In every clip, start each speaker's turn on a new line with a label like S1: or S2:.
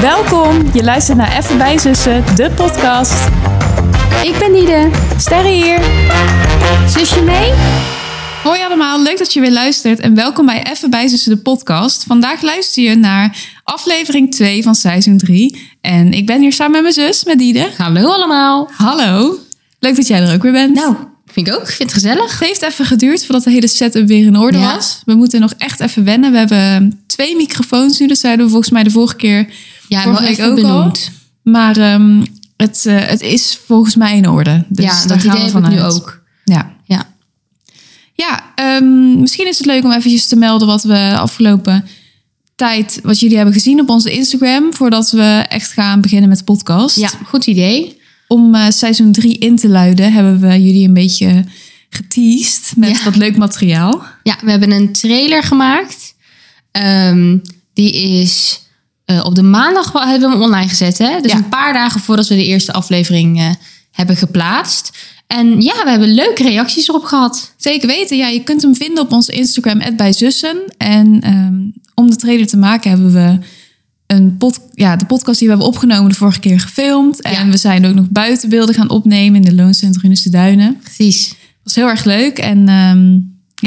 S1: Welkom, je luistert naar Even bij Zussen, de podcast.
S2: Ik ben Nide.
S1: Sterre hier.
S2: Zusje mee?
S1: Hoi allemaal, leuk dat je weer luistert en welkom bij Even bij Zussen, de podcast. Vandaag luister je naar aflevering 2 van seizoen 3. En ik ben hier samen met mijn zus, met Diede.
S2: Hallo allemaal.
S1: Hallo, leuk dat jij er ook weer bent.
S2: Nou, vind ik ook. Vind het gezellig.
S1: Het heeft even geduurd voordat de hele setup weer in orde
S2: Ja.
S1: was. We moeten nog echt even wennen. We hebben twee microfoons nu, dat zeiden we volgens mij de vorige keer.
S2: Ja,
S1: Vorige
S2: wel
S1: week
S2: even
S1: ook al.
S2: benoemd.
S1: Maar ehm, het, eh, het is volgens mij in orde. Dus
S2: ja,
S1: daar
S2: dat
S1: gaan
S2: idee
S1: we
S2: heb ik nu
S1: vanuit.
S2: ook.
S1: Ja,
S2: Ja.
S1: ja ehm, misschien is het leuk om eventjes te melden wat we afgelopen tijd, wat jullie hebben gezien op onze Instagram, voordat we echt gaan beginnen met de podcast.
S2: ja, dus goed idee.
S1: Om eh, seizoen 3 in te luiden, hebben we jullie een beetje geteased met
S2: Ja.
S1: wat leuk materiaal.
S2: Ja, we hebben een trailer gemaakt. Ehm, die is eh, op de maandag wel- hebben we hem online gezet. Hè? Dus
S1: Ja.
S2: een paar dagen voordat we de eerste aflevering eh, hebben geplaatst. En ja, we hebben leuke reacties erop gehad.
S1: Zeker weten. Ja, je kunt hem vinden op onze Instagram, @bijzussen. En ehm, om de trailer te maken hebben we een pod, ja, de podcast die we hebben opgenomen de vorige keer gefilmd. En
S2: Ja.
S1: we zijn ook nog buitenbeelden gaan opnemen in de Looncentra Unisse Duinen.
S2: Precies.
S1: Dat was heel erg leuk. En ehm,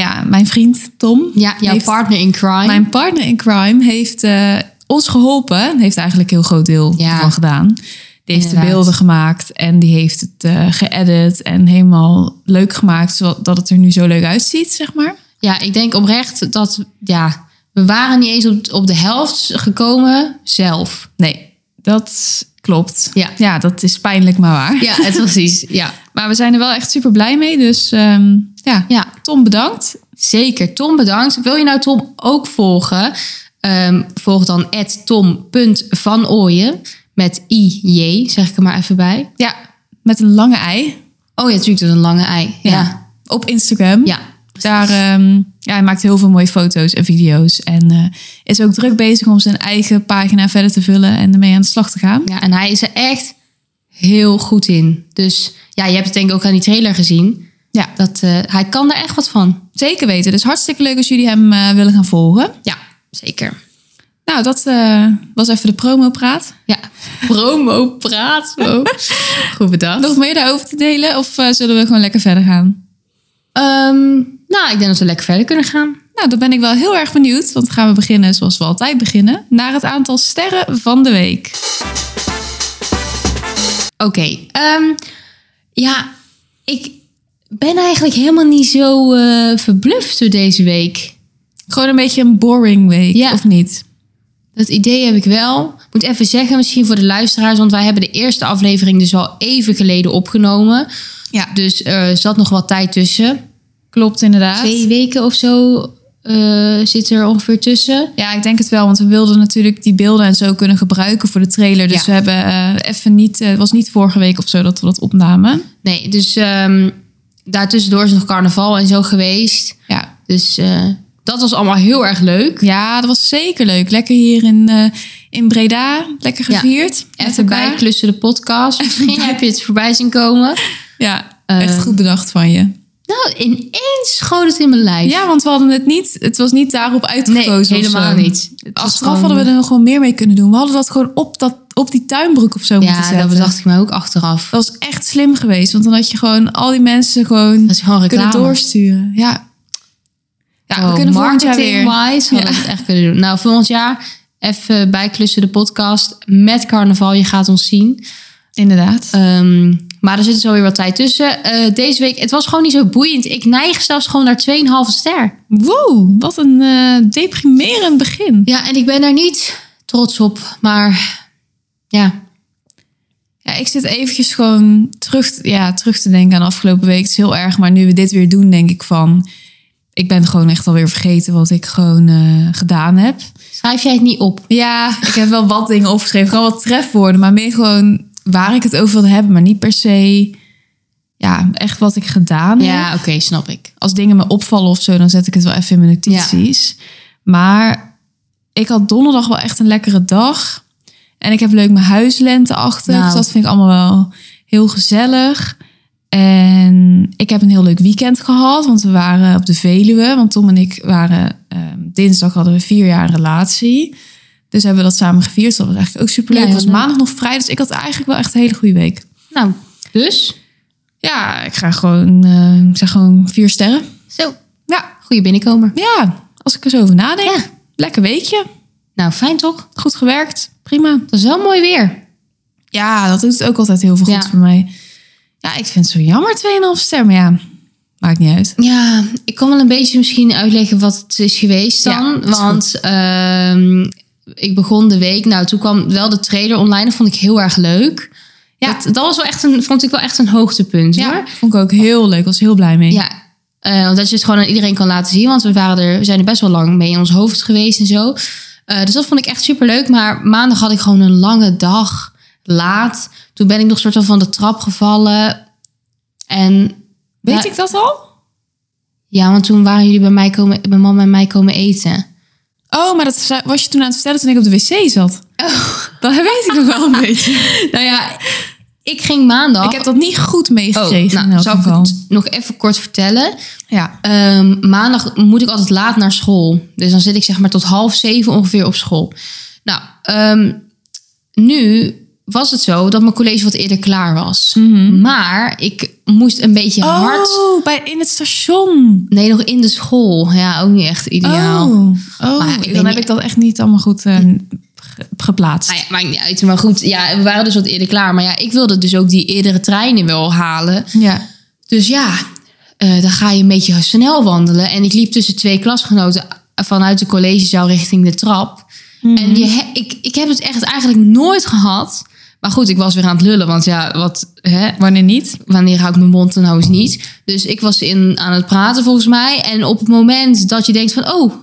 S1: ja, mijn vriend Tom,
S2: Ja, jouw
S1: Heeft-
S2: partner in crime.
S1: mijn partner in crime, heeft eh, ons geholpen. En Heeft eigenlijk een heel groot deel
S2: Ja.
S1: van gedaan. Die heeft de
S2: Inderdaad.
S1: beelden gemaakt en die heeft het eh, geëdit en helemaal leuk gemaakt, zodat het er nu zo leuk uitziet, zeg maar.
S2: Ja, ik denk oprecht dat, ja, we waren niet eens op, op de helft gekomen zelf.
S1: Nee, dat klopt.
S2: Ja.
S1: ja dat is pijnlijk, maar waar.
S2: Ja, het precies. Ja.
S1: Maar we zijn er wel echt super blij mee. Dus ehm, ja.
S2: ja,
S1: Tom, bedankt.
S2: zeker. Tom, bedankt. Wil je nou Tom ook volgen? Ehm, volg dan tom.vanooyen met IJ, zeg ik er maar even bij.
S1: Ja, met een lange ei.
S2: Oh ja, natuurlijk, dat is een lange ei. Ja, ja.
S1: Op Instagram. Daar, ehm, ja, hij maakt heel veel mooie foto's en video's. En eh, is ook druk bezig om zijn eigen pagina verder te vullen en ermee aan de slag te gaan.
S2: Ja, en hij is er echt heel goed in. Dus ja, je hebt het denk ik ook aan die trailer gezien.
S1: Ja.
S2: Dat, eh, hij kan daar echt wat van.
S1: Zeker weten. Dus hartstikke leuk als jullie hem eh, willen gaan volgen.
S2: Ja, zeker.
S1: Nou, dat eh, was even de promo-praat.
S2: Ja, promo praat. Wow. Goed bedacht.
S1: Nog meer daarover te delen? Of eh, zullen we gewoon lekker verder gaan?
S2: Ehm, nou, ik denk dat we lekker verder kunnen gaan.
S1: Nou, dan ben ik wel heel erg benieuwd, want gaan we beginnen zoals we altijd beginnen, naar het aantal sterren van de week.
S2: Oké. ehm, ja, ik ben eigenlijk helemaal niet zo eh, verbluft door deze week.
S1: Gewoon een beetje een boring week,
S2: Ja.
S1: of niet?
S2: Dat idee heb ik wel. Ik moet even zeggen, misschien voor de luisteraars, want wij hebben de eerste aflevering dus al even geleden opgenomen.
S1: Ja.
S2: Dus er zat nog wat tijd tussen.
S1: Klopt inderdaad.
S2: Twee weken of zo eh, zit er ongeveer tussen.
S1: Ja, ik denk het wel, want we wilden natuurlijk die beelden en zo kunnen gebruiken voor de trailer. Dus
S2: Ja.
S1: we hebben eh, even niet, eh, het was niet vorige week of zo dat we dat opnamen.
S2: Nee, dus ehm daartussendoor is nog carnaval en zo geweest.
S1: Ja,
S2: Dus eh, dat was allemaal heel erg leuk.
S1: ja dat was zeker leuk. Lekker hier in, eh, in Breda, lekker
S2: Ja.
S1: gevierd. met
S2: Even
S1: elkaar.
S2: bij klussen de podcast. Misschien heb je het voorbij zien komen.
S1: Ja, echt
S2: Eh.
S1: goed bedacht van je.
S2: Nou, ineens schoot het in mijn lijf.
S1: Ja, want we hadden het niet, het was niet daarop
S2: nee,
S1: uitgekozen. of
S2: helemaal
S1: zo.
S2: niet. Het was
S1: Achteraf
S2: gewoon-
S1: hadden we er nog wel meer mee kunnen doen. We hadden dat gewoon op, dat, op die tuinbroek of zo moeten
S2: Ja,
S1: zetten.
S2: dat Oh, bedacht ik mij ook achteraf.
S1: Dat was echt slim geweest. Want dan had je gewoon al die mensen gewoon
S2: Dat is gewoon reclame.
S1: kunnen doorsturen. Ja, ja we
S2: Gewoon
S1: kunnen volgend jaar weer.
S2: marketing-wise hadden we het echt kunnen doen. Nou, volgend jaar even bij klussen de podcast met carnaval. Je gaat ons zien.
S1: Inderdaad.
S2: Ehm, maar er zit zo weer wat tijd tussen. Eh, deze week, het was gewoon niet zo boeiend. Ik neig zelfs gewoon naar 2,5 ster.
S1: Wow, wat een eh, deprimerend begin.
S2: Ja, en ik ben daar niet trots op. Maar ja,
S1: Ja, ik zit eventjes gewoon terug, ja, terug te denken aan de afgelopen week. Het is heel erg, maar nu we dit weer doen, denk ik van... Ik ben gewoon echt alweer vergeten wat ik gewoon eh, gedaan heb.
S2: schrijf jij het niet op.
S1: Ja, ik heb wel wat dingen opgeschreven. Gewoon wat trefwoorden, maar meer gewoon waar ik het over wilde hebben. Maar niet per se, ja, echt wat ik gedaan heb.
S2: Ja, oké, snap ik.
S1: Als dingen me opvallen of zo, dan zet ik het wel even in mijn notities. Maar ik had donderdag wel echt een lekkere dag. En ik heb leuk mijn huislente achter.
S2: Nou.
S1: Dus dat vind ik allemaal wel heel gezellig. En ik heb een heel leuk weekend gehad, want we waren op de Veluwe. Want Tom en ik waren, ehm, dinsdag hadden we vier jaar een relatie. Dus hebben we dat samen gevierd. Dat was eigenlijk ook superleuk.
S2: Ja,
S1: Het was
S2: heel leuk.
S1: maandag nog vrij. Dus ik had eigenlijk wel echt een hele goede week.
S2: Nou, dus.
S1: Ja, ik ga gewoon, eh, ik zeg gewoon vier sterren.
S2: Zo.
S1: Ja,
S2: Goeie binnenkomer.
S1: ja, als ik er zo over nadenk.
S2: Ja.
S1: Lekker weekje.
S2: Nou, fijn toch?
S1: Goed gewerkt. Prima.
S2: Het was wel mooi weer.
S1: Ja, dat doet ook altijd heel veel goed
S2: Ja.
S1: voor mij. Ja, ik vind het zo jammer 2,5 ster. Maar ja, maakt niet uit.
S2: Ja, ik kan wel een beetje misschien uitleggen wat het is geweest dan.
S1: Ja, dat is
S2: want ehm, ik begon de week. Nou, toen kwam wel de trailer online. Dat vond ik heel erg leuk.
S1: Ja.
S2: Ja. Dat, dat was wel echt een, vond ik wel echt een hoogtepunt hoor.
S1: Ja, vond ik ook heel leuk. Was heel blij mee.
S2: Ja, eh, omdat je het gewoon aan iedereen kan laten zien. Want we, waren er, we zijn er best wel lang mee in ons hoofd geweest en zo. Eh, dus dat vond ik echt super leuk. Maar maandag had ik gewoon een lange dag laat. Toen ben ik nog soort van van de trap gevallen. En
S1: Weet
S2: Ja.
S1: ik dat al?
S2: ja, want toen waren jullie bij mij komen, mijn man en mij komen eten.
S1: Oh, maar dat ze- was je toen aan het vertellen toen ik op de wc zat. Dat weet ik nog wel een beetje.
S2: Nou ja, ik ging maandag.
S1: Ik heb dat niet goed
S2: Oh,
S1: meegekregen in
S2: nou,
S1: elk
S2: zal ik
S1: geval.
S2: het nog even kort vertellen?
S1: Ja.
S2: Ehm, maandag moet ik altijd laat naar school. Dus dan zit ik zeg maar tot half zeven ongeveer op school. Nou, ehm, nu was het zo dat mijn college wat eerder klaar was. Maar ik moest een beetje hard...
S1: Mhm. Oh, bij, in het station.
S2: Nee, nog in de school. Ja, ook niet echt ideaal.
S1: Oh, oh
S2: Maar ja,
S1: dan
S2: ik weet
S1: heb
S2: niet-
S1: ik dat echt niet allemaal goed eh, ge- geplaatst.
S2: Nou ja, maakt niet uit. Maar goed, ja, we waren dus wat eerder klaar. Maar ja, ik wilde dus ook die eerdere treinen wel halen.
S1: ja.
S2: Dus ja, eh, dan ga je een beetje snel wandelen. En ik liep tussen twee klasgenoten vanuit de collegezaal richting de trap. En je, he- ik, ik heb het echt eigenlijk nooit gehad. Maar goed, ik was weer aan het lullen. Want ja, wat, hè,
S1: Wanneer niet?
S2: wanneer hou ik mijn mond er nou eens niet? Dus ik was in, aan het praten volgens mij. En op het moment dat je denkt van... Oh,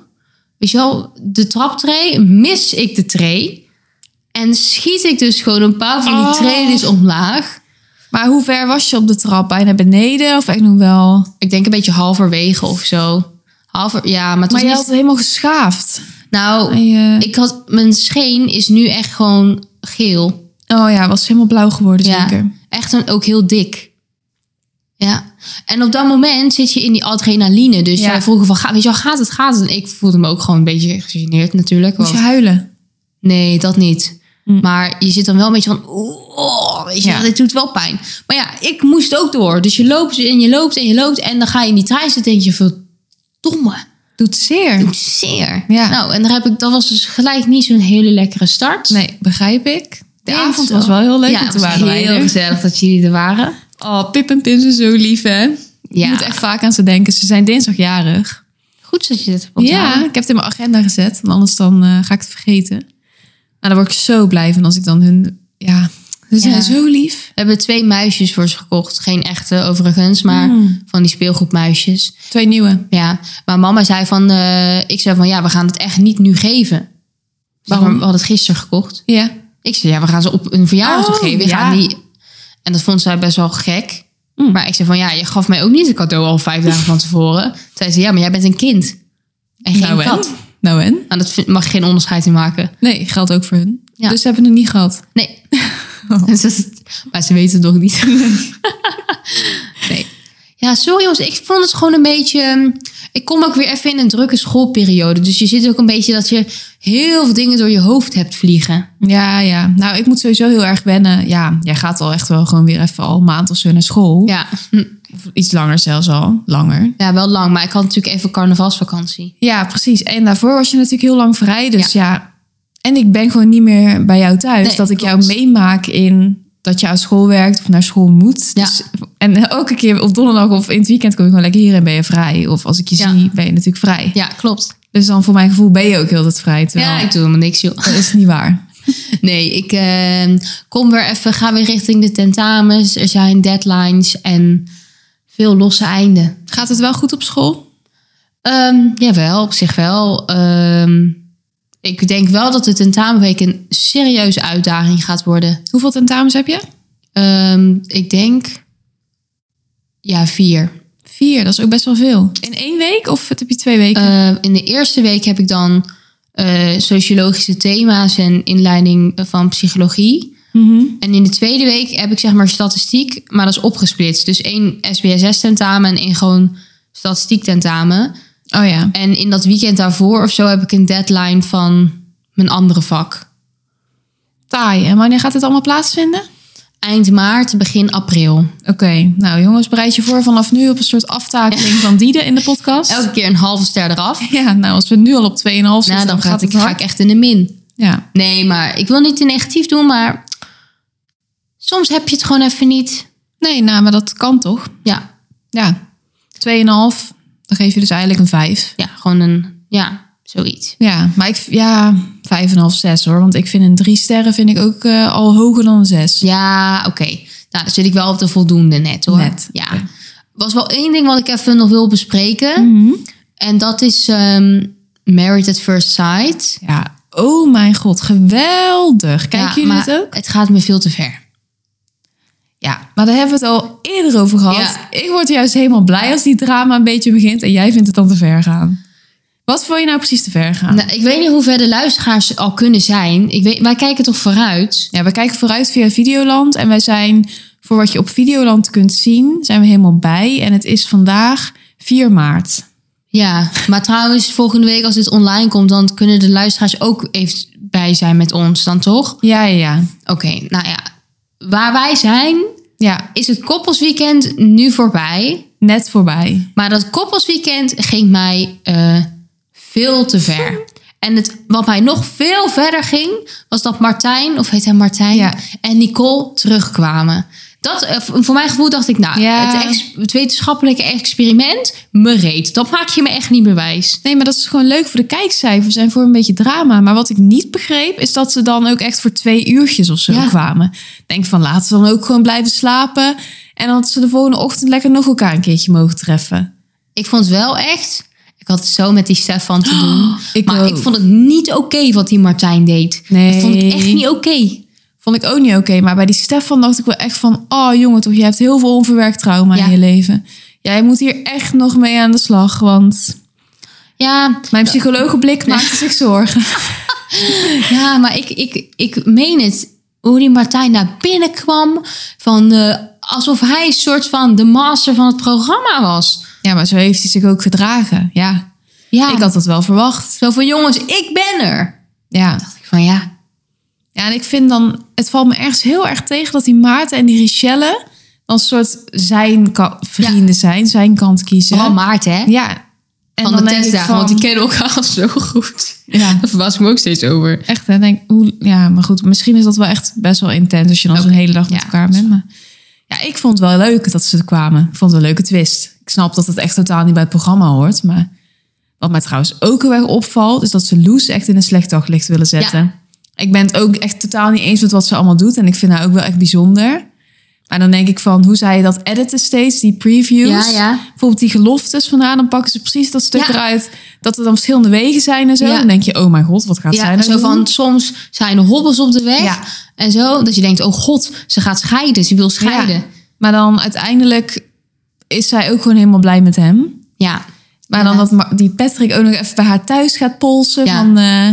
S2: weet je wel, de traptree, mis ik de tree. En schiet ik dus gewoon een paar van die
S1: Oh.
S2: treden omlaag.
S1: Maar hoe ver was je op de trap? Bijna beneden of echt nog wel?
S2: Ik denk een beetje halverwege of zo. Halver, ja, maar
S1: Maar
S2: het was
S1: je
S2: niet...
S1: had het helemaal geschaafd.
S2: Nou,
S1: En je- eh,
S2: ik had... Mijn scheen is nu echt gewoon geel.
S1: Oh ja, was helemaal blauw geworden
S2: Ja.
S1: zeker.
S2: Echt een, ook heel dik. Ja. En op dat moment zit je in die adrenaline. Dus
S1: Ja.
S2: jij vroeg van, ga, weet je wel, gaat het, gaat het? En ik voelde me ook gewoon een beetje gegeneerd natuurlijk.
S1: Moest
S2: Want,
S1: je huilen?
S2: Nee, dat niet.
S1: Hm.
S2: Maar je zit dan wel een beetje van, oh, weet je
S1: Ja.
S2: wel, dit doet wel pijn. Maar ja, ik moest ook door. Dus je loopt en je loopt en je loopt. En dan ga je in die trein zitten en denk je, verdomme.
S1: Doet zeer.
S2: doet zeer.
S1: Ja.
S2: Nou, en daar heb ik, dat was dus gelijk niet zo'n hele lekkere start.
S1: Nee, begrijp ik. De
S2: Denk
S1: avond
S2: zo.
S1: was wel heel leuk.
S2: ja,
S1: want
S2: het
S1: toen
S2: was
S1: waren wij
S2: heel
S1: er.
S2: gezellig dat jullie er waren.
S1: Oh, Pip en Pim zijn zo lief, hè? Je
S2: Ja.
S1: moet echt vaak aan ze denken. Ze zijn dinsdag jarig.
S2: Goed dat je dit hebt
S1: Ja,
S2: onthouden.
S1: ik heb het in mijn agenda gezet. Want anders dan eh, ga ik het vergeten. Nou, dan word ik zo blij van als ik dan hun... Ja, ze zijn
S2: Ja.
S1: zo lief.
S2: We hebben twee muisjes voor ze gekocht. Geen echte overigens, maar
S1: Hmm.
S2: van die speelgoedmuisjes.
S1: Twee nieuwe.
S2: Ja, maar mama zei van, eh, ik zei van ja, we gaan het echt niet nu geven. Zeg
S1: Waarom?
S2: maar, we hadden het gisteren gekocht.
S1: Ja.
S2: Ik zei ja, we gaan ze op een verjaardag
S1: Oh,
S2: geven. We
S1: ja. Mm.
S2: gaan die... En dat vond zij best wel gek. Maar ik zei van ja, je gaf mij ook niet een cadeau al vijf dagen van tevoren. Toen zei ze ja, maar jij bent een kind. En geen
S1: nou en?
S2: kat.
S1: Nou en?
S2: Nou, dat vind- mag geen onderscheid in maken.
S1: Nee, geldt ook voor hun.
S2: Ja.
S1: Dus ze hebben het niet gehad.
S2: Nee. Dus dat is- maar ze weten het nog niet. nee. Ja, sorry jongens. Ik vond het gewoon een beetje... ehm, Ik kom ook weer even in een drukke schoolperiode. Dus je zit ook een beetje dat je heel veel dingen door je hoofd hebt vliegen.
S1: Ja, ja. Nou, ik moet sowieso heel erg wennen. Ja, jij gaat al echt wel gewoon weer even al een maand of zo naar school.
S2: Ja,
S1: Of iets langer zelfs al. Langer.
S2: Hm. ja wel lang. Maar ik had natuurlijk even carnavalsvakantie.
S1: Ja, precies. En daarvoor was je natuurlijk heel lang vrij. Dus ja. En ik ben gewoon niet meer bij jou thuis.
S2: Nee,
S1: dat ik jou
S2: klopt.
S1: meemaak in dat je aan school werkt of naar school moet.
S2: Ja.
S1: Dus, en elke keer op donderdag of in het weekend kom ik gewoon lekker hier en ben je vrij. Of als ik je
S2: Ja.
S1: zie, ben je natuurlijk vrij.
S2: Ja, klopt.
S1: Dus dan voor mijn gevoel ben je ook heel dat vrij. Terwijl
S2: Ja, ik doe helemaal niks joh.
S1: dat is niet waar.
S2: Nee, ik ehm, kom weer even, ga weer richting de tentamens. Er zijn deadlines en veel losse einden.
S1: Gaat het wel goed op school?
S2: Ehm, jawel, op zich wel. Ehm, ik denk wel dat de tentamenweek een serieuze uitdaging gaat worden.
S1: Hoeveel tentamens heb je?
S2: Ehm, ik denk, ja, vier.
S1: Vier, dat is ook best wel veel. In één week of heb je twee weken?
S2: Ehm, in de eerste week heb ik dan eh, sociologische thema's en inleiding van psychologie.
S1: Mhm.
S2: En in de tweede week heb ik zeg maar statistiek, maar dat is opgesplitst. Dus één SBSS-tentamen en één gewoon statistiek-tentamen.
S1: Oh ja.
S2: En in dat weekend daarvoor of zo heb ik een deadline van mijn andere vak.
S1: Taai. En wanneer gaat het allemaal plaatsvinden?
S2: Eind maart, begin april.
S1: Oké, nou jongens, bereid je voor vanaf nu op een soort aftakeling van Diede in de podcast.
S2: Elke keer een halve ster eraf.
S1: Ja, nou als we nu al op 2,5 zitten,
S2: nou, dan
S1: Dus
S2: gaat
S1: gaat
S2: ik,
S1: het
S2: ga
S1: hard.
S2: ik echt in de min.
S1: Ja,
S2: Nee, maar ik wil niet te negatief doen, maar soms heb je het gewoon even niet.
S1: nee, nou, maar dat kan toch?
S2: Ja,
S1: Ja, 2,5, dan geef je dus eigenlijk een 5.
S2: ja gewoon een, ja, zoiets.
S1: Ja, maar ik, ja, 5,5, 6 hoor. Want ik vind een 3 sterren vind ik ook eh, al hoger dan een 6.
S2: Ja, oké. Nou, dan zit ik wel op de voldoende net hoor.
S1: Net,
S2: Ja. Was wel één ding wat ik even nog wil bespreken.
S1: Mhm.
S2: En dat is ehm Married at First Sight.
S1: Ja, oh mijn god, geweldig. Kijken
S2: Ja,
S1: jullie
S2: maar
S1: het ook?
S2: Het gaat me veel te ver.
S1: Ja, maar daar hebben we het al eerder over gehad.
S2: Ja.
S1: Ik word juist helemaal blij als die drama een beetje begint en jij vindt het dan te ver gaan. Wat vond je nou precies te ver gaan?
S2: Nou, ik weet niet hoe ver de luisteraars al kunnen zijn. Ik weet, wij kijken toch vooruit?
S1: Ja, we kijken vooruit via Videoland en wij zijn voor wat je op Videoland kunt zien, zijn we helemaal bij. En het is vandaag 4 maart.
S2: Ja, maar trouwens, volgende week als dit online komt, dan kunnen de luisteraars ook even bij zijn met ons, dan toch?
S1: Ja, ja, ja.
S2: Oké, nou ja. Waar wij zijn,
S1: Ja,
S2: is het koppelsweekend nu voorbij.
S1: net voorbij.
S2: Maar dat koppelsweekend ging mij eh, veel te ver. En het, wat mij nog veel verder ging, was dat Martijn, of heet hij Martijn,
S1: Ja.
S2: en Nicole terugkwamen. Dat, eh, v- voor mijn gevoel dacht ik, nou,
S1: Ja.
S2: het, ex- het wetenschappelijke experiment, me reed. Dat maak je me echt niet bewijs.
S1: Nee, maar dat is gewoon leuk voor de kijkcijfers en voor een beetje drama. Maar wat ik niet begreep, is dat ze dan ook echt voor twee uurtjes of zo
S2: Ja.
S1: kwamen. Ik Denk van, laten ze dan ook gewoon blijven slapen. En dat ze de volgende ochtend lekker nog elkaar een keertje mogen treffen.
S2: Ik vond het wel echt. Ik had het zo met die Stefan te doen.
S1: Oh, ik
S2: maar ik
S1: ook.
S2: vond het niet oké wat die Martijn deed.
S1: Nee.
S2: Dat vond ik echt niet oké.
S1: Vond ik ook niet oké. maar bij die Stefan dacht ik wel echt van... Oh jongen, toch, je hebt heel veel onverwerkt trauma
S2: Ja.
S1: in je leven. Jij moet hier echt nog mee aan de slag. Want
S2: Ja,
S1: mijn psychologenblik maakte zich zorgen.
S2: ja, maar ik, ik, ik meen het. Hoe die Martijn naar binnen kwam. Van, eh, alsof hij een soort van de master van het programma was.
S1: Ja, maar zo heeft hij zich ook gedragen. Ja,
S2: Ja,
S1: ik had dat wel verwacht.
S2: zo van jongens, ik ben er.
S1: Ja.
S2: Dacht ik van ja.
S1: Ja, en ik vind dan, het valt me ergens heel erg tegen dat die Maarten en die Richelle dan soort zijn ka- vrienden zijn, zijn kant kiezen.
S2: Vooral Maarten hè.
S1: ja. En
S2: van de
S1: denk ik
S2: testdagen,
S1: van-
S2: want die kennen elkaar zo goed.
S1: Ja,
S2: Daar verbaas ik me ook steeds over.
S1: echt. Hè, denk, hoe, ja, maar goed, misschien is dat wel echt best wel intens als je dan zo'n hele dag met
S2: ja,
S1: elkaar
S2: dat is
S1: bent. Maar, ja, ik vond het wel leuk dat ze er kwamen. Ik vond het wel een leuke twist. Ik snap dat het echt totaal niet bij het programma hoort, maar wat mij trouwens ook heel erg opvalt, is dat ze Loes echt in een slecht daglicht willen zetten. Ik ben het ook echt totaal niet eens met wat ze allemaal doet. En ik vind haar ook wel echt bijzonder. Maar dan denk ik van, hoe zij dat editen steeds, die previews.
S2: Ja, ja.
S1: Bijvoorbeeld die geloftes van haar, dan pakken ze precies dat stuk
S2: Ja.
S1: eruit. Dat er dan verschillende wegen zijn en zo.
S2: Ja.
S1: Dan denk je, oh mijn god, wat gaat zij
S2: Ja,
S1: nou
S2: zo
S1: doen?
S2: van soms zijn er hobbels op de weg.
S1: Ja.
S2: En zo, dat je denkt, oh god, ze gaat scheiden. Ze wil scheiden.
S1: Ja.
S2: Ja.
S1: Maar dan uiteindelijk is zij ook gewoon helemaal blij met hem. Maar dan
S2: Ja.
S1: dat Ma- die Patrick ook nog even bij haar thuis gaat polsen.
S2: Ja.
S1: Van, eh,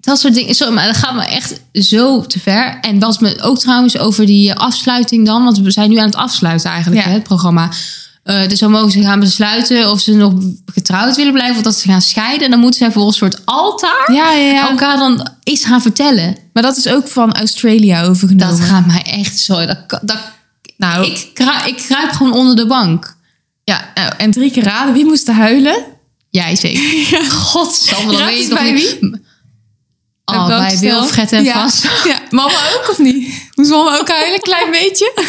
S2: Dat soort dingen. Zo, maar dat gaat me echt zo te ver. En was me ook trouwens over die eh, afsluiting dan. Want we zijn nu aan het afsluiten eigenlijk,
S1: Ja.
S2: hè, het programma. Eh, dus dan mogen ze gaan besluiten of ze nog getrouwd willen blijven. Of dat ze gaan scheiden. En dan moeten zij voor een soort altaar
S1: ja, ja, ja.
S2: elkaar dan iets gaan vertellen.
S1: Maar dat is ook van Australia
S2: Dat
S1: overgenomen.
S2: gaat mij echt zo... Dat, kan- dat,
S1: nou,
S2: ik, kruip, ik kruip gewoon onder de bank.
S1: Ja, nou, en drie keer raden. Wie moest er
S2: Oh,
S1: huilen?
S2: Jij zeker. Godsamme, dan
S1: Raad
S2: weet je
S1: eens
S2: toch
S1: bij
S2: niet. Oh,
S1: Welk
S2: bij
S1: stel?
S2: Wilfred en
S1: ja. Oh,
S2: Vast.
S1: Ja, mama ook of niet? Moest mama ook huilen, een klein beetje?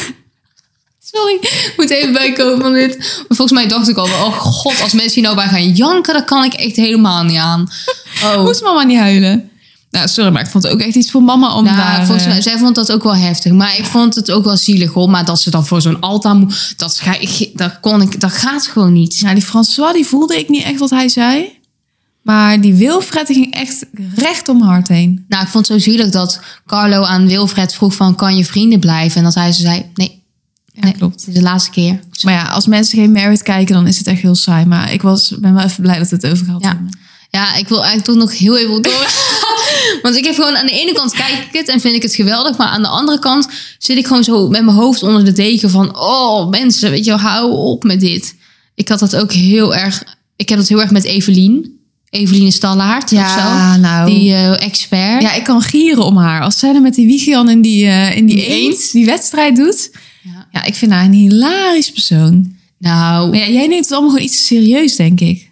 S2: Sorry, ik moet even bijkomen van dit. Maar volgens mij dacht ik al, wel, oh god, als mensen hier nou bij gaan janken, dan kan ik echt helemaal niet aan. Oh,
S1: Moest mama niet huilen? Nou, sorry, maar ik vond het ook echt iets voor mama om daar...
S2: nou,
S1: eh,
S2: volgens mij, zij vond dat ook wel heftig. Maar ik vond het ook wel zielig, hoor. Maar dat ze dan voor zo'n altaar moet, dat, ga ik, dat, kon ik, dat gaat gewoon niet.
S1: Nou, die François, die voelde ik niet echt wat hij zei. Maar die Wilfred, die ging echt recht om mijn hart heen.
S2: Nou, ik vond het zo zielig dat Carlo aan Wilfred vroeg van, kan je vrienden blijven? En dat hij zo zei, nee,
S1: Ja,
S2: nee
S1: klopt.
S2: dit is de laatste keer.
S1: Maar ja, als mensen geen Merit kijken, dan is het echt heel saai. Maar ik was, ben wel even blij dat we het over gehad
S2: Ja.
S1: hebben.
S2: ja, ik wil eigenlijk toch nog heel even door. Want ik heb gewoon aan de ene kant kijk ik het en vind ik het geweldig. Maar aan de andere kant zit ik gewoon zo met mijn hoofd onder de deken van... Oh mensen, weet je wel, hou op met dit. Ik had dat ook heel erg... Ik heb dat heel erg met Evelien. Eveline Stallaert of zo.
S1: nou.
S2: Die eh, expert.
S1: ja, ik kan gieren om haar. Als zij dan met die Wiegjan in die, eh, in die,
S2: Die
S1: eend, die wedstrijd doet.
S2: Ja.
S1: Ja, ik vind haar een hilarisch persoon.
S2: Nou,
S1: Maar ja, jij neemt het allemaal gewoon iets te serieus, denk ik.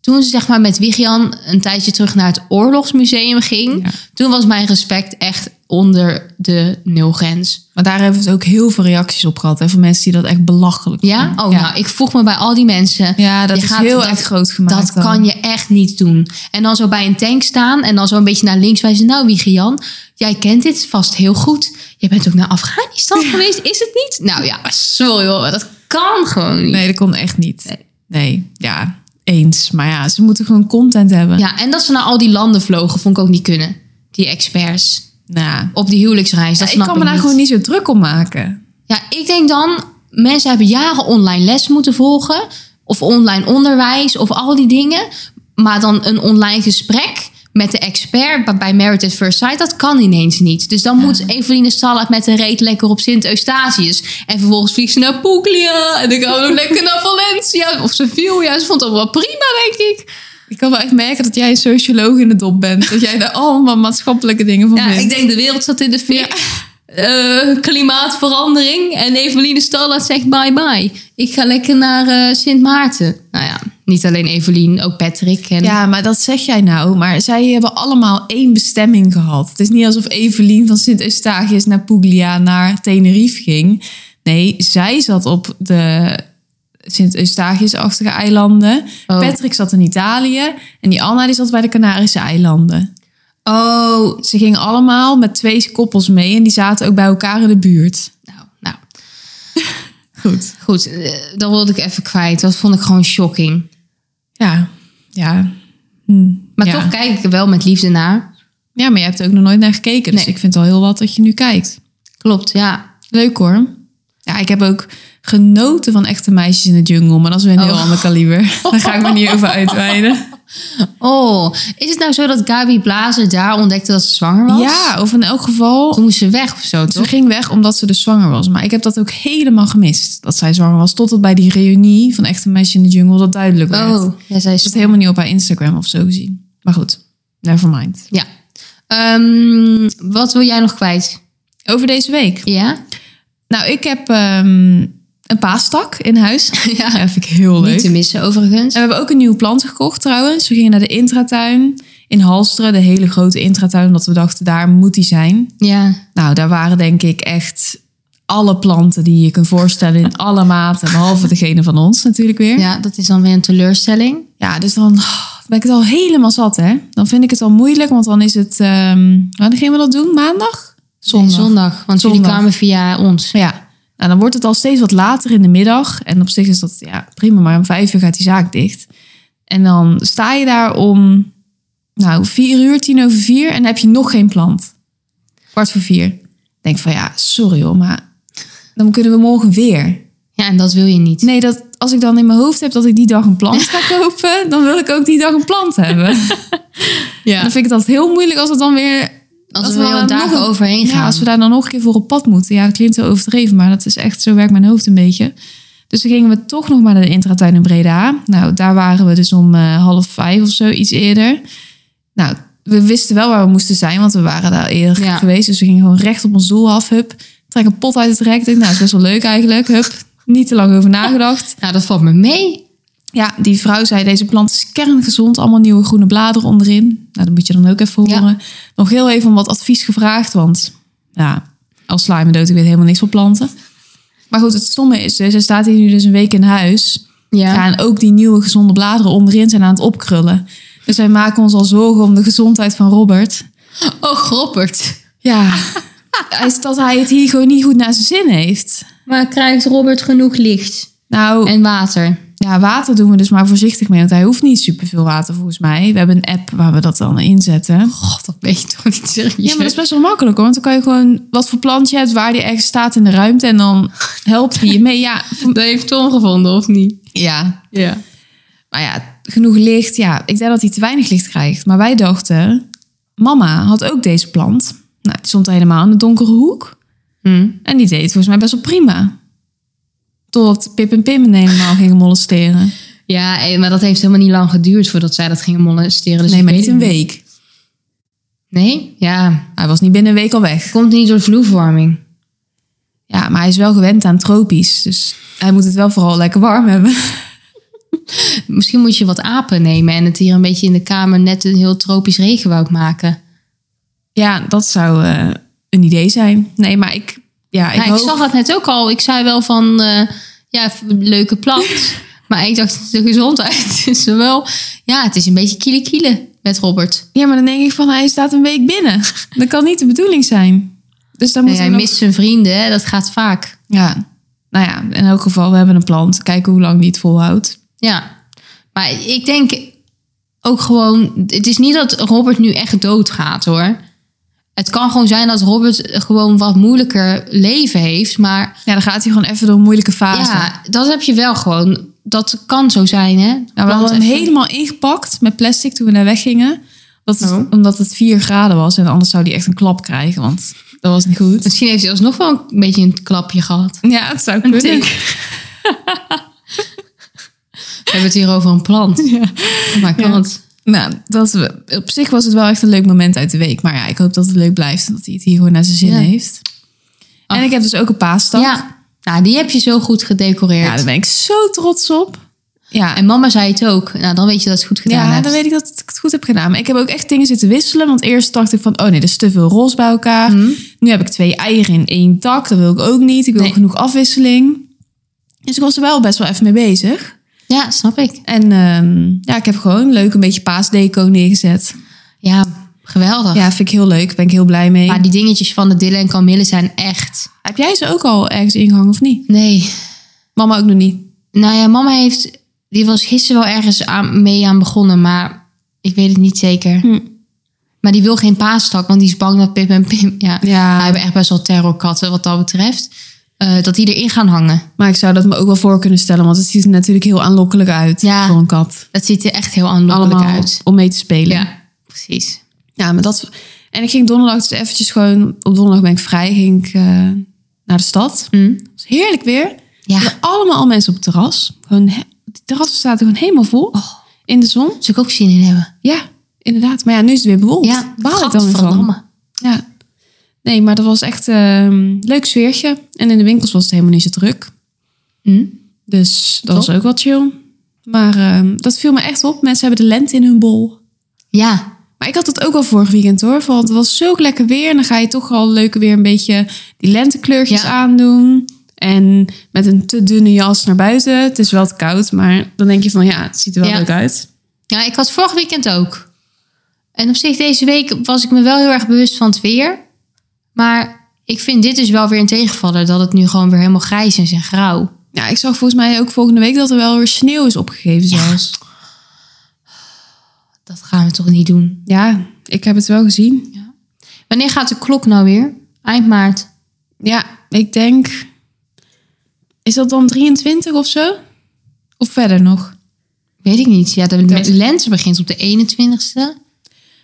S2: toen ze zeg maar met Wiegjan een tijdje terug naar het oorlogsmuseum ging,
S1: Ja.
S2: toen was mijn respect echt onder de nulgrens.
S1: Maar daar hebben we het ook heel veel reacties op gehad. Hè, van mensen die dat echt belachelijk
S2: Ja?
S1: vonden.
S2: Oh,
S1: ja.
S2: nou, ik vroeg me bij al die mensen.
S1: Ja, dat
S2: Je
S1: is
S2: gaat-
S1: heel
S2: dat-
S1: erg groot gemaakt.
S2: Dat
S1: dan.
S2: kan je echt niet doen. En dan zo bij een tank staan en dan zo een beetje naar links wijzen. Nou, Wiegjan, jij kent dit vast heel goed. Je bent ook naar Afghanistan geweest, is het niet? Nou ja, sorry hoor, dat kan gewoon niet.
S1: Nee, dat kon echt niet.
S2: Nee.
S1: Nee. ja, eens. Maar ja, ze moeten gewoon content hebben.
S2: Ja, en dat ze naar al die landen vlogen, vond ik ook niet kunnen. Die experts.
S1: Nou,
S2: Op die huwelijksreis, dat
S1: ja, ik
S2: snap
S1: kan me daar
S2: niet.
S1: gewoon niet zo druk om maken.
S2: Ja, ik denk dan, mensen hebben jaren online les moeten volgen. Of online onderwijs, of al die dingen. Maar dan een online gesprek met de expert bij- bij Merit at First Sight, dat kan ineens niet. Dus dan moet Eveline Stallaert met de reet lekker op Sint-Eustatius. En vervolgens vliegt ze naar Puglia. En dan gaan we lekker naar Valencia of Sevilla. Ze vond het wel prima, denk ik.
S1: Ik kan wel echt merken dat jij een socioloog in de dop bent. Dat jij daar allemaal maatschappelijke dingen van
S2: Ja,
S1: vindt.
S2: ik denk de wereld zat in de fik. Eh, klimaatverandering. En Eveline Stallaert zegt bye bye. Ik ga lekker naar eh, Sint Maarten. Nou ja, niet alleen Eveline, ook Patrick. En...
S1: Ja, maar dat zeg jij nou. Maar zij hebben allemaal één bestemming gehad. Het is niet alsof Evelien van Sint Eustatius naar Puglia naar Tenerife ging. Nee, zij zat op de Sint Eustatius-achtige eilanden.
S2: Oh.
S1: Patrick zat in Italië. En die Anna die zat bij de Canarische eilanden.
S2: Oh,
S1: Ze gingen allemaal met twee koppels mee. En die zaten ook bij elkaar in de buurt.
S2: nou, nou
S1: Goed.
S2: goed. eh, dat wilde ik even kwijt. Dat vond ik gewoon shocking.
S1: Ja, ja.
S2: Maar
S1: Ja.
S2: toch kijk ik er wel met liefde naar.
S1: Ja, maar je hebt er ook nog nooit naar gekeken. Dus
S2: Nee.
S1: ik vind het al heel wat dat je nu kijkt.
S2: Klopt, ja.
S1: Leuk hoor. Ja, ik heb ook genoten van echte meisjes in de jungle. Maar dat is weer een heel
S2: Oh.
S1: ander kaliber. Daar ga ik me niet over uitweiden.
S2: Oh, is het nou zo dat Gabi Blazer daar ontdekte dat ze zwanger was?
S1: Ja, of in elk geval...
S2: Toen moest ze weg of zo,
S1: Ze
S2: toch?
S1: ging weg omdat ze dus zwanger was. Maar ik heb dat ook helemaal gemist. Dat zij zwanger was. Totdat bij die reunie van echte meisjes in de jungle dat duidelijk werd.
S2: Oh, ja, zij
S1: Ik heb
S2: is
S1: het helemaal niet op haar Instagram of zo gezien. Maar goed, never mind.
S2: Ja. Ehm, wat wil jij nog kwijt?
S1: Over deze week.
S2: Ja?
S1: Nou, ik heb ehm, een paastak in huis.
S2: Ja.
S1: dat vind ik heel leuk.
S2: Niet te
S1: En
S2: missen, overigens.
S1: we hebben ook een nieuwe plant gekocht trouwens. We gingen naar de intratuin in Halsteren. De hele grote intratuin. Omdat we dachten, daar moet die zijn.
S2: Ja.
S1: Nou, daar waren denk ik echt alle planten die je kunt voorstellen. In alle maten. Behalve degene van ons natuurlijk weer.
S2: ja, dat is dan weer een teleurstelling.
S1: Ja, dus dan ben ik het al helemaal zat, hè? Dan vind ik het al moeilijk, want dan is het... ehm wanneer gingen we dat doen? Maandag? Zondag.
S2: Nee, zondag want jullie
S1: Zondag.
S2: kwamen via ons.
S1: Ja. Nou, dan wordt het al steeds wat later in de middag. En op zich is dat ja, prima, maar om vijf uur gaat die zaak dicht. En dan sta je daar om nou, vier uur, tien over vier... en dan heb je nog geen plant. Kwart voor vier. Ik denk van, ja, sorry hoor, maar dan kunnen we morgen weer.
S2: Ja, en dat wil je niet.
S1: Nee, dat, als ik dan in mijn hoofd heb dat ik die dag een plant ga kopen... dan wil ik ook die dag een plant hebben.
S2: Ja.
S1: Dan vind ik het altijd heel moeilijk als het dan weer...
S2: Als
S1: als
S2: we
S1: we
S2: wel
S1: dan
S2: dagen
S1: nog een-
S2: overheen gaan.
S1: Ja, als we daar dan nog een keer voor op pad moeten. Ja, dat klinkt heel overdreven, maar dat is echt... Zo werkt mijn hoofd een beetje. Dus toen gingen we toch nog maar naar de intratuin in Breda. Nou, daar waren we dus om eh, half vijf of zo, iets eerder. Nou, we wisten wel waar we moesten zijn, want we waren daar eerder
S2: Ja.
S1: geweest. Dus we gingen gewoon recht op ons doel af, hup. Trek een pot uit het rek. Denk, nou, is best wel leuk eigenlijk, hup. Niet te lang over nagedacht.
S2: Nou, dat valt me mee.
S1: Ja, die vrouw zei, deze plant is kerngezond. Allemaal nieuwe groene bladeren onderin. Nou, dat moet je dan ook even
S2: Ja.
S1: horen. Nog heel even om wat advies gevraagd. Want ja, als sla je me dood, ik weet helemaal niks van planten. Maar goed, het stomme is dus, hij staat hier nu dus een week in huis. Ja. en ook die nieuwe gezonde bladeren onderin zijn aan het opkrullen. Dus wij maken ons al zorgen om de gezondheid van Robert.
S2: Oh, groppert.
S1: Ja, hij is dat hij het hier gewoon niet goed naar zijn zin heeft.
S2: Maar krijgt Robert genoeg licht?
S1: Nou,
S2: En water.
S1: Ja, water doen we dus maar voorzichtig mee. Want hij hoeft niet superveel water volgens mij. We hebben een app waar we dat dan inzetten.
S2: God, dat weet je toch niet serieus?
S1: Ja, maar dat is best wel makkelijk hoor. Want dan kan je gewoon wat voor plant je hebt, waar die ergens staat in de ruimte. En dan helpt hij je mee. Ja,
S2: dat heeft Tom gevonden, of niet?
S1: ja.
S2: Ja.
S1: Maar ja, genoeg licht. Ja, ik denk dat hij te weinig licht krijgt. Maar wij dachten, mama had ook deze plant. Nou, die stond helemaal in de donkere hoek.
S2: Hm.
S1: En die deed het volgens mij best wel prima. Totdat Pip en Pim me helemaal gingen molesteren.
S2: Ja, eh, maar dat heeft helemaal niet lang geduurd voordat zij dat gingen molesteren. Dus
S1: nee,
S2: ik
S1: maar
S2: weet
S1: niet een
S2: het
S1: week.
S2: Nee? Ja.
S1: Hij was niet binnen een week al weg.
S2: Komt niet door de vloerverwarming.
S1: Ja, maar hij is wel gewend aan tropisch. Dus hij moet het wel vooral lekker warm hebben.
S2: Misschien moet je wat apen nemen en het hier een beetje in de kamer net een heel tropisch regenwoud maken.
S1: Ja, dat zou eh, een idee zijn. Nee, maar ik, ja, ik
S2: Ja, Nou, ik,
S1: hoop...
S2: zag dat net ook al. Ik zei wel van, eh, ja, f- leuke plant. maar ik dacht, de gezondheid is er wel... Ja, het is een beetje kiele kiele met Robert.
S1: Ja, maar dan denk ik van, hij staat een week binnen. Dat kan niet de bedoeling zijn. Dus dan
S2: Nee,
S1: moet
S2: hij
S1: hij nog...
S2: mist zijn vrienden, hè? dat gaat vaak.
S1: Ja, nou ja, in elk geval, we hebben een plan. Kijken hoe lang die het volhoudt.
S2: Ja, maar ik denk ook gewoon... Het is niet dat Robert nu echt doodgaat, hoor. Het kan gewoon zijn dat Robert gewoon wat moeilijker leven heeft, maar...
S1: Ja, dan gaat hij gewoon even door een moeilijke Nou, fase. Ja,
S2: Ja, dat heb je wel gewoon. Dat kan zo zijn, hè? Nou,
S1: we hadden hem
S2: Even-
S1: helemaal ingepakt met plastic toen we naar weggingen. Dat is
S2: Oh.
S1: Omdat het 4 graden was en anders zou hij echt een klap krijgen, want dat was niet goed.
S2: Misschien heeft hij alsnog wel een beetje een klapje gehad.
S1: Ja, het zou kunnen.
S2: We hebben het hier over een plant. Ja. Oh my god.
S1: Nou, dat, we- op zich was het wel echt een leuk moment uit de week. Maar ja, ik hoop dat het leuk blijft en dat hij het hier gewoon naar zijn zin
S2: Ja.
S1: heeft.
S2: Ach.
S1: En ik heb dus ook een
S2: Ja.
S1: paastak. Ja,
S2: Nou, die heb je zo goed gedecoreerd.
S1: daar ben ik zo trots op. Ja,
S2: En mama zei het ook. Nou, dan weet je dat het goed gedaan
S1: ja
S2: hebt.
S1: dan weet ik dat ik het goed heb gedaan. Maar ik heb ook echt dingen zitten wisselen. Want eerst dacht ik van, oh nee, er is te veel roze bij elkaar.
S2: Mhm.
S1: Nu heb ik twee eieren in één tak. Dat wil ik ook niet. Ik wil
S2: Nee.
S1: genoeg afwisseling. Dus ik was er wel best wel even mee bezig.
S2: Ja, snap ik.
S1: En ehm, ja, ik heb gewoon leuk een beetje paasdeco neergezet.
S2: Ja, geweldig.
S1: Ja, vind ik heel leuk. Daar ben ik heel blij mee.
S2: Maar die dingetjes van de Dillen en Camille zijn echt...
S1: Heb jij ze ook al ergens ingehangen of niet?
S2: Nee.
S1: Mama ook nog niet.
S2: Nou ja, mama heeft... Die was gisteren wel ergens aan, mee aan begonnen, maar ik weet het niet zeker.
S1: Hm.
S2: Maar die wil geen paastak, want die is bang dat Pip en Pim... Ja,
S1: Ja.
S2: wij hebben echt best wel terrorkatten wat dat betreft. eh, dat die erin gaan hangen.
S1: Maar ik zou dat me ook wel voor kunnen stellen, want het ziet er natuurlijk heel aanlokkelijk uit
S2: Ja.
S1: voor een kat.
S2: Dat ziet er echt heel aanlokkelijk
S1: Allemaal
S2: uit.
S1: om mee te spelen.
S2: Ja, precies.
S1: Ja, maar dat. En ik ging donderdag dus eventjes gewoon. Op donderdag ben ik vrij, ging ik eh, naar de stad.
S2: Hm.
S1: Het was heerlijk weer. Er
S2: Ja,
S1: waren allemaal al mensen op het terras. Gewoon, he- het terras staat gewoon helemaal vol
S2: Oh.
S1: in de zon.
S2: zou ik ook zin in hebben.
S1: Ja, inderdaad. Maar ja, nu is het weer bewolkt.
S2: Ja,
S1: baal ik dan weer van.
S2: gadverdamme.
S1: Ja. Nee, maar dat was echt eh, een leuk sfeertje. En in de winkels was het helemaal niet zo druk.
S2: Hm?
S1: Dus dat
S2: Top.
S1: was ook wel chill. Maar ehm, dat viel me echt op. Mensen hebben de lente in hun bol.
S2: Ja,
S1: Maar ik had dat ook al vorig weekend hoor. Want het was zulk lekker weer. En dan ga je toch al leuke weer een beetje die lentekleurtjes
S2: Ja.
S1: aandoen. En met een te dunne jas naar buiten. Het is wel te koud, maar dan denk je van ja, het ziet er wel
S2: Ja.
S1: leuk uit.
S2: Ja, ik had vorig weekend ook. En op zich deze week was ik me wel heel erg bewust van het weer. Maar ik vind dit dus wel weer een tegenvaller. Dat het nu gewoon weer helemaal grijs is en grauw.
S1: Ja, ik zag volgens mij ook volgende week dat er wel weer sneeuw is opgegeven zelfs.
S2: Dat gaan we toch niet doen.
S1: Ja, ik heb het wel gezien.
S2: Wanneer gaat de klok nou weer? Eind maart.
S1: Ja, ik denk... Is dat dan 23 of zo? Of verder nog?
S2: Weet ik niet. Ja, de
S1: Dat-
S2: lente begint op de 21ste.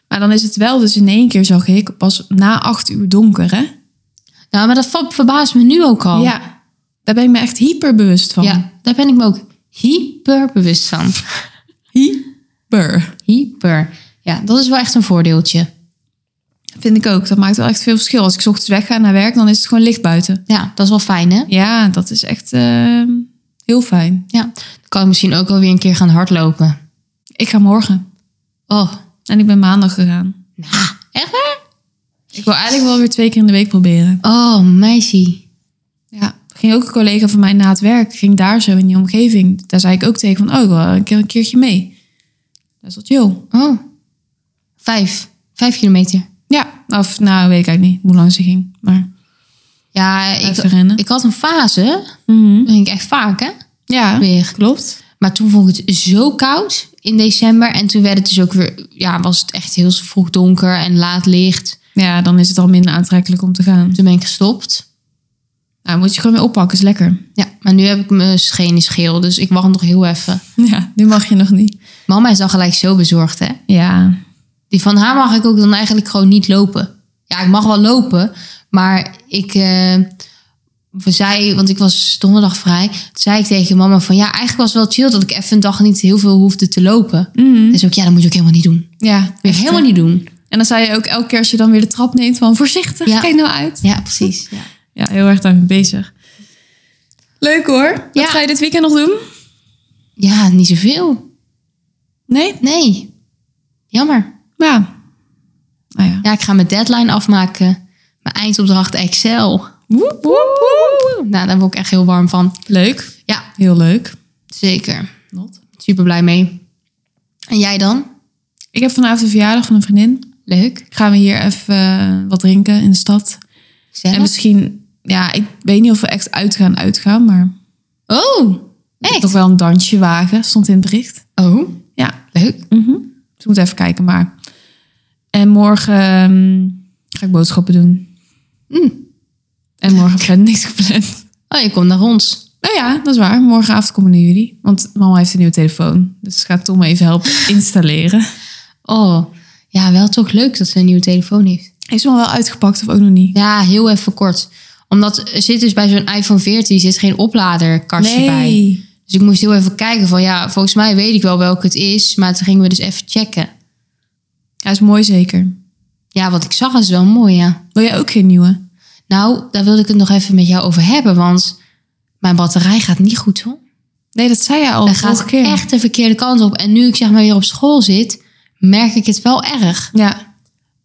S1: Maar dan is het wel dus in één keer, zag ik, pas na acht uur donker, hè?
S2: Nou, maar dat va- verbaast me nu ook al.
S1: Ja. Daar ben ik me echt hyperbewust van.
S2: Ja, daar ben ik me ook hyper bewust van.
S1: Hyper.
S2: Hyper. Ja, dat is wel echt een voordeeltje.
S1: Vind ik ook. Dat maakt wel echt veel verschil. Als ik 's ochtends wegga naar werk, dan is het gewoon licht buiten.
S2: Ja, dat is wel fijn, hè?
S1: Ja, dat is echt eh, heel fijn.
S2: Ja. Dan kan ik misschien ook alweer een keer gaan hardlopen.
S1: Ik ga morgen.
S2: Oh,
S1: En ik ben maandag gegaan.
S2: echt waar?
S1: Ik wil eigenlijk wel weer twee keer in de week proberen.
S2: Oh, meisje.
S1: Ja, ging ook een collega van mij na het werk, ging daar zo in die omgeving. Daar zei ik ook tegen van, oh, ik wil een, keer, een keertje mee. Dat is wat chill.
S2: Oh. Vijf. Vijf kilometer.
S1: Ja, of nou, weet ik eigenlijk niet hoe lang ze ging. Maar
S2: Ja, ik,
S1: even rennen.
S2: ik had een fase.
S1: Mhm.
S2: Dat ging ik echt vaak, hè?
S1: Ja,
S2: Weer.
S1: klopt.
S2: Maar toen vond ik het zo koud in december. En toen werd het dus ook weer... Ja, was het echt heel vroeg donker en laat licht.
S1: Ja, dan is het al minder aantrekkelijk om te gaan.
S2: Toen ben ik gestopt.
S1: Nou, moet je gewoon weer oppakken, is lekker.
S2: Ja, maar nu heb ik mijn schenen scheel, dus ik wacht nog heel even.
S1: Ja, nu mag je nog niet.
S2: Mama is dan gelijk zo bezorgd, hè?
S1: Ja,
S2: Die van haar mag ik ook dan eigenlijk gewoon niet lopen. Ja, ik mag wel lopen, maar ik eh, we zei, want ik was donderdag vrij, toen zei ik tegen mama van ja, eigenlijk was het wel chill dat ik even een dag niet heel veel hoefde te lopen. En ze ook, ja, dat moet je ook helemaal niet doen.
S1: Ja,
S2: Dat moet je
S1: echt,
S2: Mhm. helemaal niet doen.
S1: En dan zou je ook elke keer als je dan weer de trap neemt van voorzichtig,
S2: Ja.
S1: kijk nou uit.
S2: Ja, precies. Ja.
S1: Ja, heel erg daarmee bezig. Leuk hoor. Wat
S2: Ja.
S1: ga je dit weekend nog doen?
S2: Ja, niet zoveel.
S1: Nee?
S2: Nee. Jammer.
S1: Ja. Nou ja.
S2: Ja, ik ga mijn deadline afmaken. Mijn eindopdracht Excel.
S1: Woep, woep, woep.
S2: Nou, daar word ik echt heel warm van.
S1: Leuk.
S2: Ja,
S1: Heel leuk.
S2: zeker. Super blij mee. En jij dan?
S1: Ik heb vanavond een verjaardag van een vriendin.
S2: Leuk.
S1: Gaan we hier even eh, wat drinken in de stad.
S2: Zelf?
S1: En misschien, ja, ik weet niet of we echt uitgaan uitgaan, maar
S2: Oh,
S1: toch
S2: echt?
S1: wel een dansje wagen, stond in het bericht.
S2: Oh,
S1: Ja,
S2: leuk.
S1: Mhm. Dus ik moet even kijken, maar. En morgen ehm, ga ik boodschappen doen. Mm. En morgen heb ik verder niks gepland.
S2: Oh, je komt naar ons.
S1: Nou ja, dat is waar. Morgenavond komen we naar jullie. Want mama heeft een nieuwe telefoon. Dus ik ga Tom even helpen installeren.
S2: Oh, ja, wel toch leuk dat ze een nieuwe telefoon heeft.
S1: Is hem al wel uitgepakt of ook nog niet?
S2: Ja, heel even kort. Omdat er zit dus bij zo'n iPhone 14 zit geen opladerkastje bij. Dus ik moest heel even kijken van ja, volgens mij weet ik wel welke het is. Maar toen gingen we dus even checken.
S1: Hij is mooi zeker.
S2: Ja, wat ik zag is wel mooi, ja.
S1: Wil jij ook geen nieuwe?
S2: Nou, daar wilde ik het nog even met jou over hebben. Want mijn batterij gaat niet goed, hoor.
S1: Nee, dat zei jij al
S2: Hij
S1: Oh, vorige
S2: gaat
S1: keer.
S2: echt de verkeerde kant op. En nu ik zeg maar weer op school zit, merk ik het wel erg.
S1: Ja.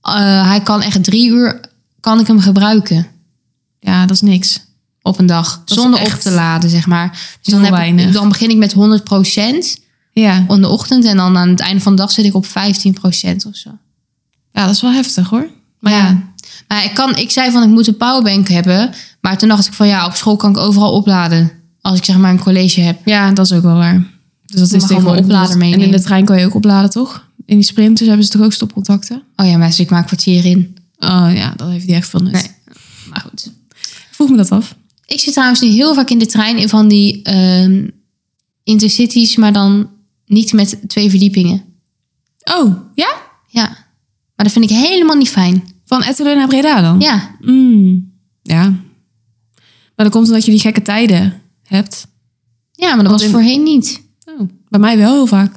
S2: Eh, hij kan echt drie uur, kan ik hem gebruiken.
S1: ja, dat is niks.
S2: op een dag.
S1: is
S2: zonder op
S1: echt
S2: te laden, zeg maar. Dus dan,
S1: heel
S2: heb ik,
S1: weinig.
S2: dan begin ik met 100%
S1: Ja.
S2: in de ochtend. En dan aan het einde van de dag zit ik op 15% of zo.
S1: ja, dat is wel heftig hoor. Maar ja,
S2: Maar ik, kan, ik zei van ik moet een powerbank hebben. Maar toen dacht ik van ja, op school kan ik overal opladen. Als ik zeg maar een college heb.
S1: Ja, dat is ook wel waar. Dus dat
S2: Je
S1: is
S2: mag allemaal
S1: tegenwoordig
S2: oplader
S1: niet. En in
S2: meenemen.
S1: de trein kan je ook opladen, toch? In die sprinters hebben ze toch ook stopcontacten?
S2: Oh ja, mensen, ik maak kwartier in.
S1: Oh ja, dat heeft die echt veel nut.
S2: Nee. Maar goed.
S1: Ik Vroeg me dat af.
S2: Ik zit trouwens nu heel vaak in de trein in van die ehm, intercities. Maar dan niet met twee verdiepingen.
S1: Oh, ja?
S2: Ja. Maar dat vind ik helemaal niet fijn.
S1: Van Ettelen naar Breda dan?
S2: Ja.
S1: Mm, ja. Maar dat komt omdat je die gekke tijden hebt.
S2: Ja, maar dat was
S1: in-
S2: voorheen niet.
S1: Oh, bij mij wel heel vaak.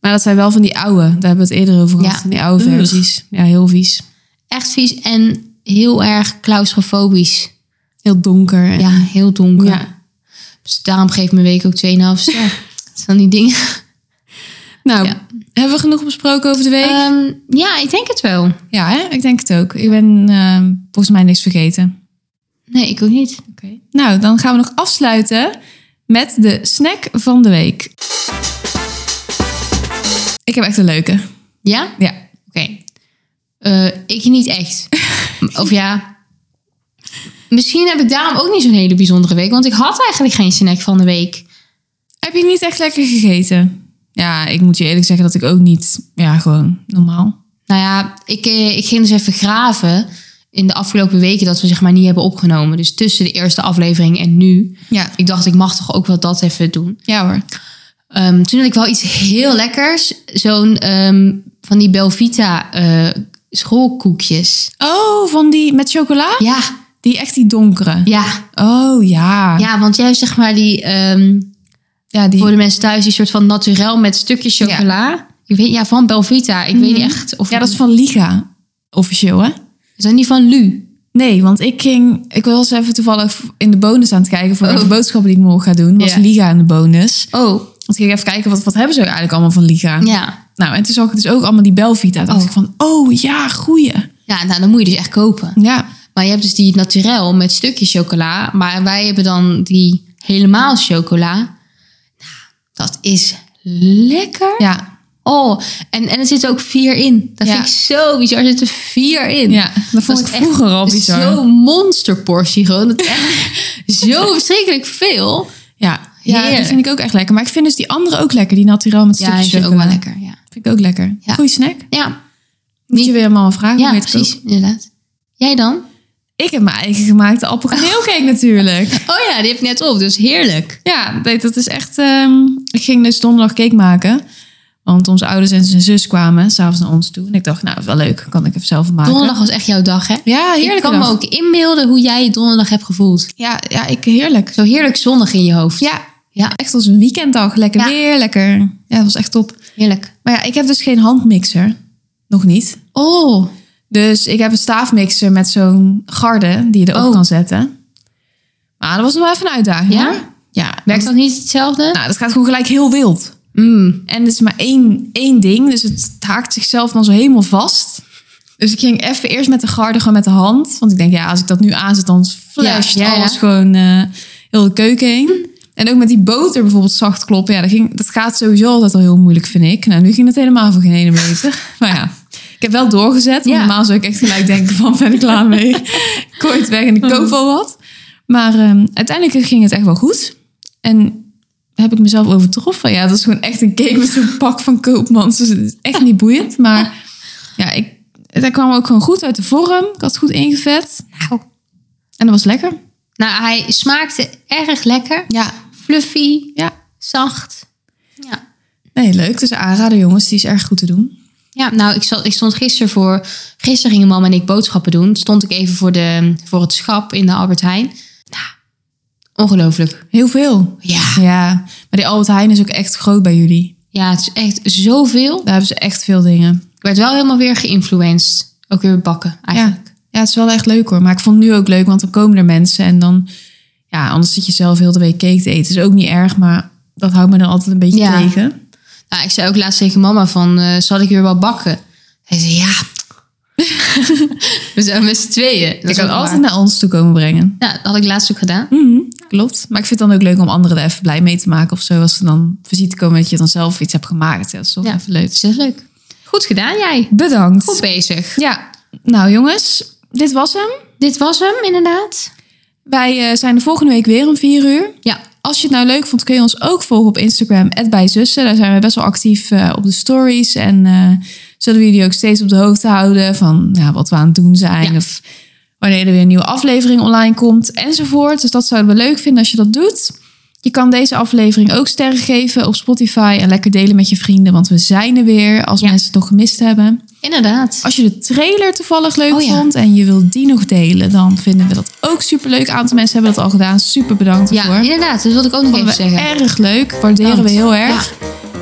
S1: Maar dat zijn wel van die oude. Daar hebben we het eerder over gehad.
S2: Hmm. Ja.
S1: Van die oude
S2: Ugh.
S1: versies. Ja, heel vies.
S2: echt vies en heel erg claustrofobisch.
S1: Heel donker. En,
S2: Ja, heel donker.
S1: ja.
S2: Dus daarom geeft mijn week ook 2,5 ster. Dat zijn die dingen.
S1: Nou,
S2: Ja.
S1: hebben we genoeg besproken over de week?
S2: Ehm, ja, ik denk het wel.
S1: ja, hè? ik denk het ook. Ik ben eh, volgens mij niks vergeten.
S2: Nee, ik ook niet.
S1: Nou, dan gaan we nog afsluiten met de snack van de week. Ik heb echt een leuke.
S2: Ja? Oké.
S1: Ja.
S2: Eh, ik niet echt. of ja. Misschien heb ik daarom ook niet zo'n hele bijzondere week. Want ik had eigenlijk geen snack van de week.
S1: Heb je niet echt lekker gegeten? Ja, ik moet je eerlijk zeggen dat ik ook niet... Ja, gewoon normaal.
S2: Nou ja, ik, eh, ik ging dus even graven in de afgelopen weken dat we zeg maar niet hebben opgenomen. Dus tussen de eerste aflevering en nu.
S1: Ja.
S2: Ik dacht, ik mag toch ook wel dat even doen.
S1: Ja hoor.
S2: Ehm, toen had ik wel iets heel lekkers. Zo'n ehm, van die Belvita eh, schoolkoekjes.
S1: Oh, van die met chocola?
S2: Ja,
S1: Die echt die donkere.
S2: ja,
S1: Oh ja.
S2: ja. Want jij hebt zeg maar die, ehm,
S1: Ja, die...
S2: voor de mensen thuis, die soort van naturel met stukjes chocola. Ik weet, ja, van Belvita. Ik weet niet echt of...
S1: ja dat is van Liga. Officieel, hè?
S2: Zijn die van Lu?
S1: Nee, want ik ging... Ik was even toevallig in de bonus aan het kijken... voor
S2: Oh.
S1: de boodschappen die ik morgen ga doen. Was
S2: Ja.
S1: Liga in de bonus.
S2: Oh,
S1: Want ik ging even kijken, wat, wat hebben ze eigenlijk allemaal van Liga?
S2: ja.
S1: Nou, en toen zag ik dus ook allemaal die Belvita. Toen dacht
S2: Oh.
S1: ik van, oh ja, goeie.
S2: Ja, nou, dan moet je dus echt kopen.
S1: Ja,
S2: Maar je hebt dus die naturel met stukjes chocola. Maar wij hebben dan die helemaal chocola. Nou, dat is lekker.
S1: ja,
S2: Oh, en, en er zitten ook vier in. Dat
S1: Ja.
S2: vind ik zo bizar. Er zitten vier in.
S1: ja. Dat vond
S2: is
S1: ik vroeger al
S2: echt
S1: bizar.
S2: Zo'n monsterportie gewoon. Dat is echt zo verschrikkelijk veel.
S1: Ja, ja
S2: Heerlijk.
S1: die vind ik ook echt lekker. Maar ik vind dus die andere ook lekker. Die naturel met
S2: Ja,
S1: stukjes
S2: die zijn ook
S1: chocola.
S2: wel lekker. Ja,
S1: Vind ik ook lekker.
S2: Ja.
S1: Goeie snack. Moet
S2: ja,
S1: je weer helemaal vragen.
S2: ja
S1: hoe heet het
S2: precies.
S1: ook?
S2: Inderdaad. Jij dan?
S1: Ik heb mijn eigen gemaakte appelkaneelcake natuurlijk.
S2: Oh ja, die heb ik net op. Dus heerlijk.
S1: Ja, nee, dat is echt... ehm, ik ging dus donderdag cake maken. Want onze ouders en zijn zus kwamen s'avonds naar ons toe. En ik dacht, nou, is wel leuk. Kan ik even zelf maken.
S2: Donderdag was echt jouw dag, hè?
S1: Ja, heerlijk.
S2: Ik kan me ook inbeelden hoe jij je donderdag hebt gevoeld.
S1: Ja, ja ik, heerlijk.
S2: Zo heerlijk zonnig in je hoofd.
S1: Ja,
S2: Ja.
S1: echt als een weekenddag. Lekker
S2: Ja.
S1: weer, lekker. Ja, dat was echt top.
S2: Heerlijk.
S1: Maar ja, ik heb dus geen handmixer. Nog niet.
S2: Oh,
S1: Dus ik heb een staafmixer met zo'n garde die je erop
S2: Oh.
S1: kan zetten. Maar dat was nog wel even een uitdaging
S2: Ja?
S1: hoor. Ja.
S2: werkt
S1: want-
S2: dat niet hetzelfde?
S1: Nou, dat gaat gewoon gelijk heel wild.
S2: Mm.
S1: En het is maar één, één ding, dus het haakt zichzelf dan zo helemaal vast. Dus ik ging even eerst met de garde, gewoon met de hand. Want ik denk, ja, als ik dat nu aanzet, dan flasht
S2: Ja, ja, ja.
S1: alles gewoon eh, heel de keuken heen. En ook met die boter bijvoorbeeld zacht kloppen. Ja, dat, ging, dat gaat sowieso altijd al heel moeilijk, vind ik. Nou, nu ging het helemaal voor geen ene meter. Maar ja, ik heb wel doorgezet. want
S2: Ja.
S1: Normaal zou ik echt gelijk denken van, ben ik klaar mee? Ik Gooi het weg en ik koop wel wat. Maar ehm, uiteindelijk ging het echt wel goed. En heb ik mezelf overtroffen. Ja, dat is gewoon echt een cake met zo'n pak van koopmans. Dus het is echt niet boeiend. Maar ja, ik, dat kwam ook gewoon goed uit de vorm. Ik had het goed ingevet.
S2: Nou.
S1: En dat was lekker.
S2: nou, hij smaakte erg lekker.
S1: Ja.
S2: Fluffy,
S1: Ja.
S2: zacht. Ja.
S1: Nee, leuk. Dus aanrader jongens, die is erg goed te doen.
S2: Ja, nou, ik, zat, ik stond gisteren voor... Gisteren gingen mam en ik boodschappen doen. Stond ik even voor, de, voor het schap in de Albert Heijn. Nou, ongelooflijk.
S1: Heel veel.
S2: Ja.
S1: Ja. Maar die Albert Heijn is ook echt groot bij jullie.
S2: Ja, het is echt zoveel.
S1: Daar hebben ze echt veel dingen.
S2: Ik werd wel helemaal weer geïnfluenced. Ook weer bakken, eigenlijk.
S1: Ja. Ja, het is wel echt leuk hoor. Maar ik vond het nu ook leuk, want dan komen er mensen. En dan, ja, anders zit je zelf heel de week cake te eten. Is ook niet erg, maar dat houdt me dan altijd een beetje
S2: Ja.
S1: tegen.
S2: Nou, ik zei ook laatst tegen mama van, eh, zal ik weer wel bakken? Hij zei, ja. We zijn met z'n tweeën. Dat
S1: Je
S2: is
S1: kan
S2: ook
S1: altijd
S2: waar.
S1: naar ons toe komen brengen.
S2: Nou, dat had ik laatst ook gedaan.
S1: Mhm, klopt. Maar ik vind het dan ook leuk om anderen er even blij mee te maken of zo. Als ze dan visite komen dat je dan zelf iets hebt gemaakt. Ja, dat is toch
S2: Ja.
S1: even leuk.
S2: Dat is echt leuk. Goed gedaan, jij.
S1: Bedankt.
S2: Goed bezig.
S1: Ja, nou jongens, dit was hem.
S2: Dit was hem, inderdaad.
S1: Wij eh, zijn de volgende week weer om vier uur.
S2: Ja,
S1: Als je het nou leuk vond, kun je ons ook volgen op Instagram, bijzussen. Daar zijn we best wel actief eh, op de stories. En eh, zullen we jullie ook steeds op de hoogte houden van ja, wat we aan het doen zijn.
S2: Ja.
S1: Of wanneer er weer een nieuwe aflevering online komt, enzovoort. Dus dat zouden we leuk vinden als je dat doet. Je kan deze aflevering ook sterren geven op Spotify en lekker delen met je vrienden. Want we zijn er weer als
S2: Ja.
S1: mensen het nog gemist hebben.
S2: inderdaad.
S1: Als je de trailer toevallig leuk
S2: Oh ja.
S1: vond en je wilt die nog delen, dan vinden we dat ook superleuk. Een aantal mensen hebben dat al gedaan. Super bedankt
S2: Ja,
S1: ervoor.
S2: inderdaad. Dat wilde ik ook nog even
S1: Vonden we
S2: zeggen.
S1: erg leuk. Waarderen we
S2: Bedankt.
S1: heel erg.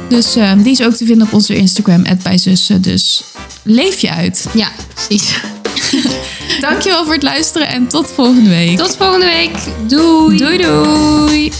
S1: Dus eh, die is ook te vinden op onze Instagram, @bijzussen. Dus leef je uit.
S2: Ja, precies.
S1: Dankjewel voor het luisteren en tot volgende week.
S2: Tot volgende week. Doei.
S1: Doei doei.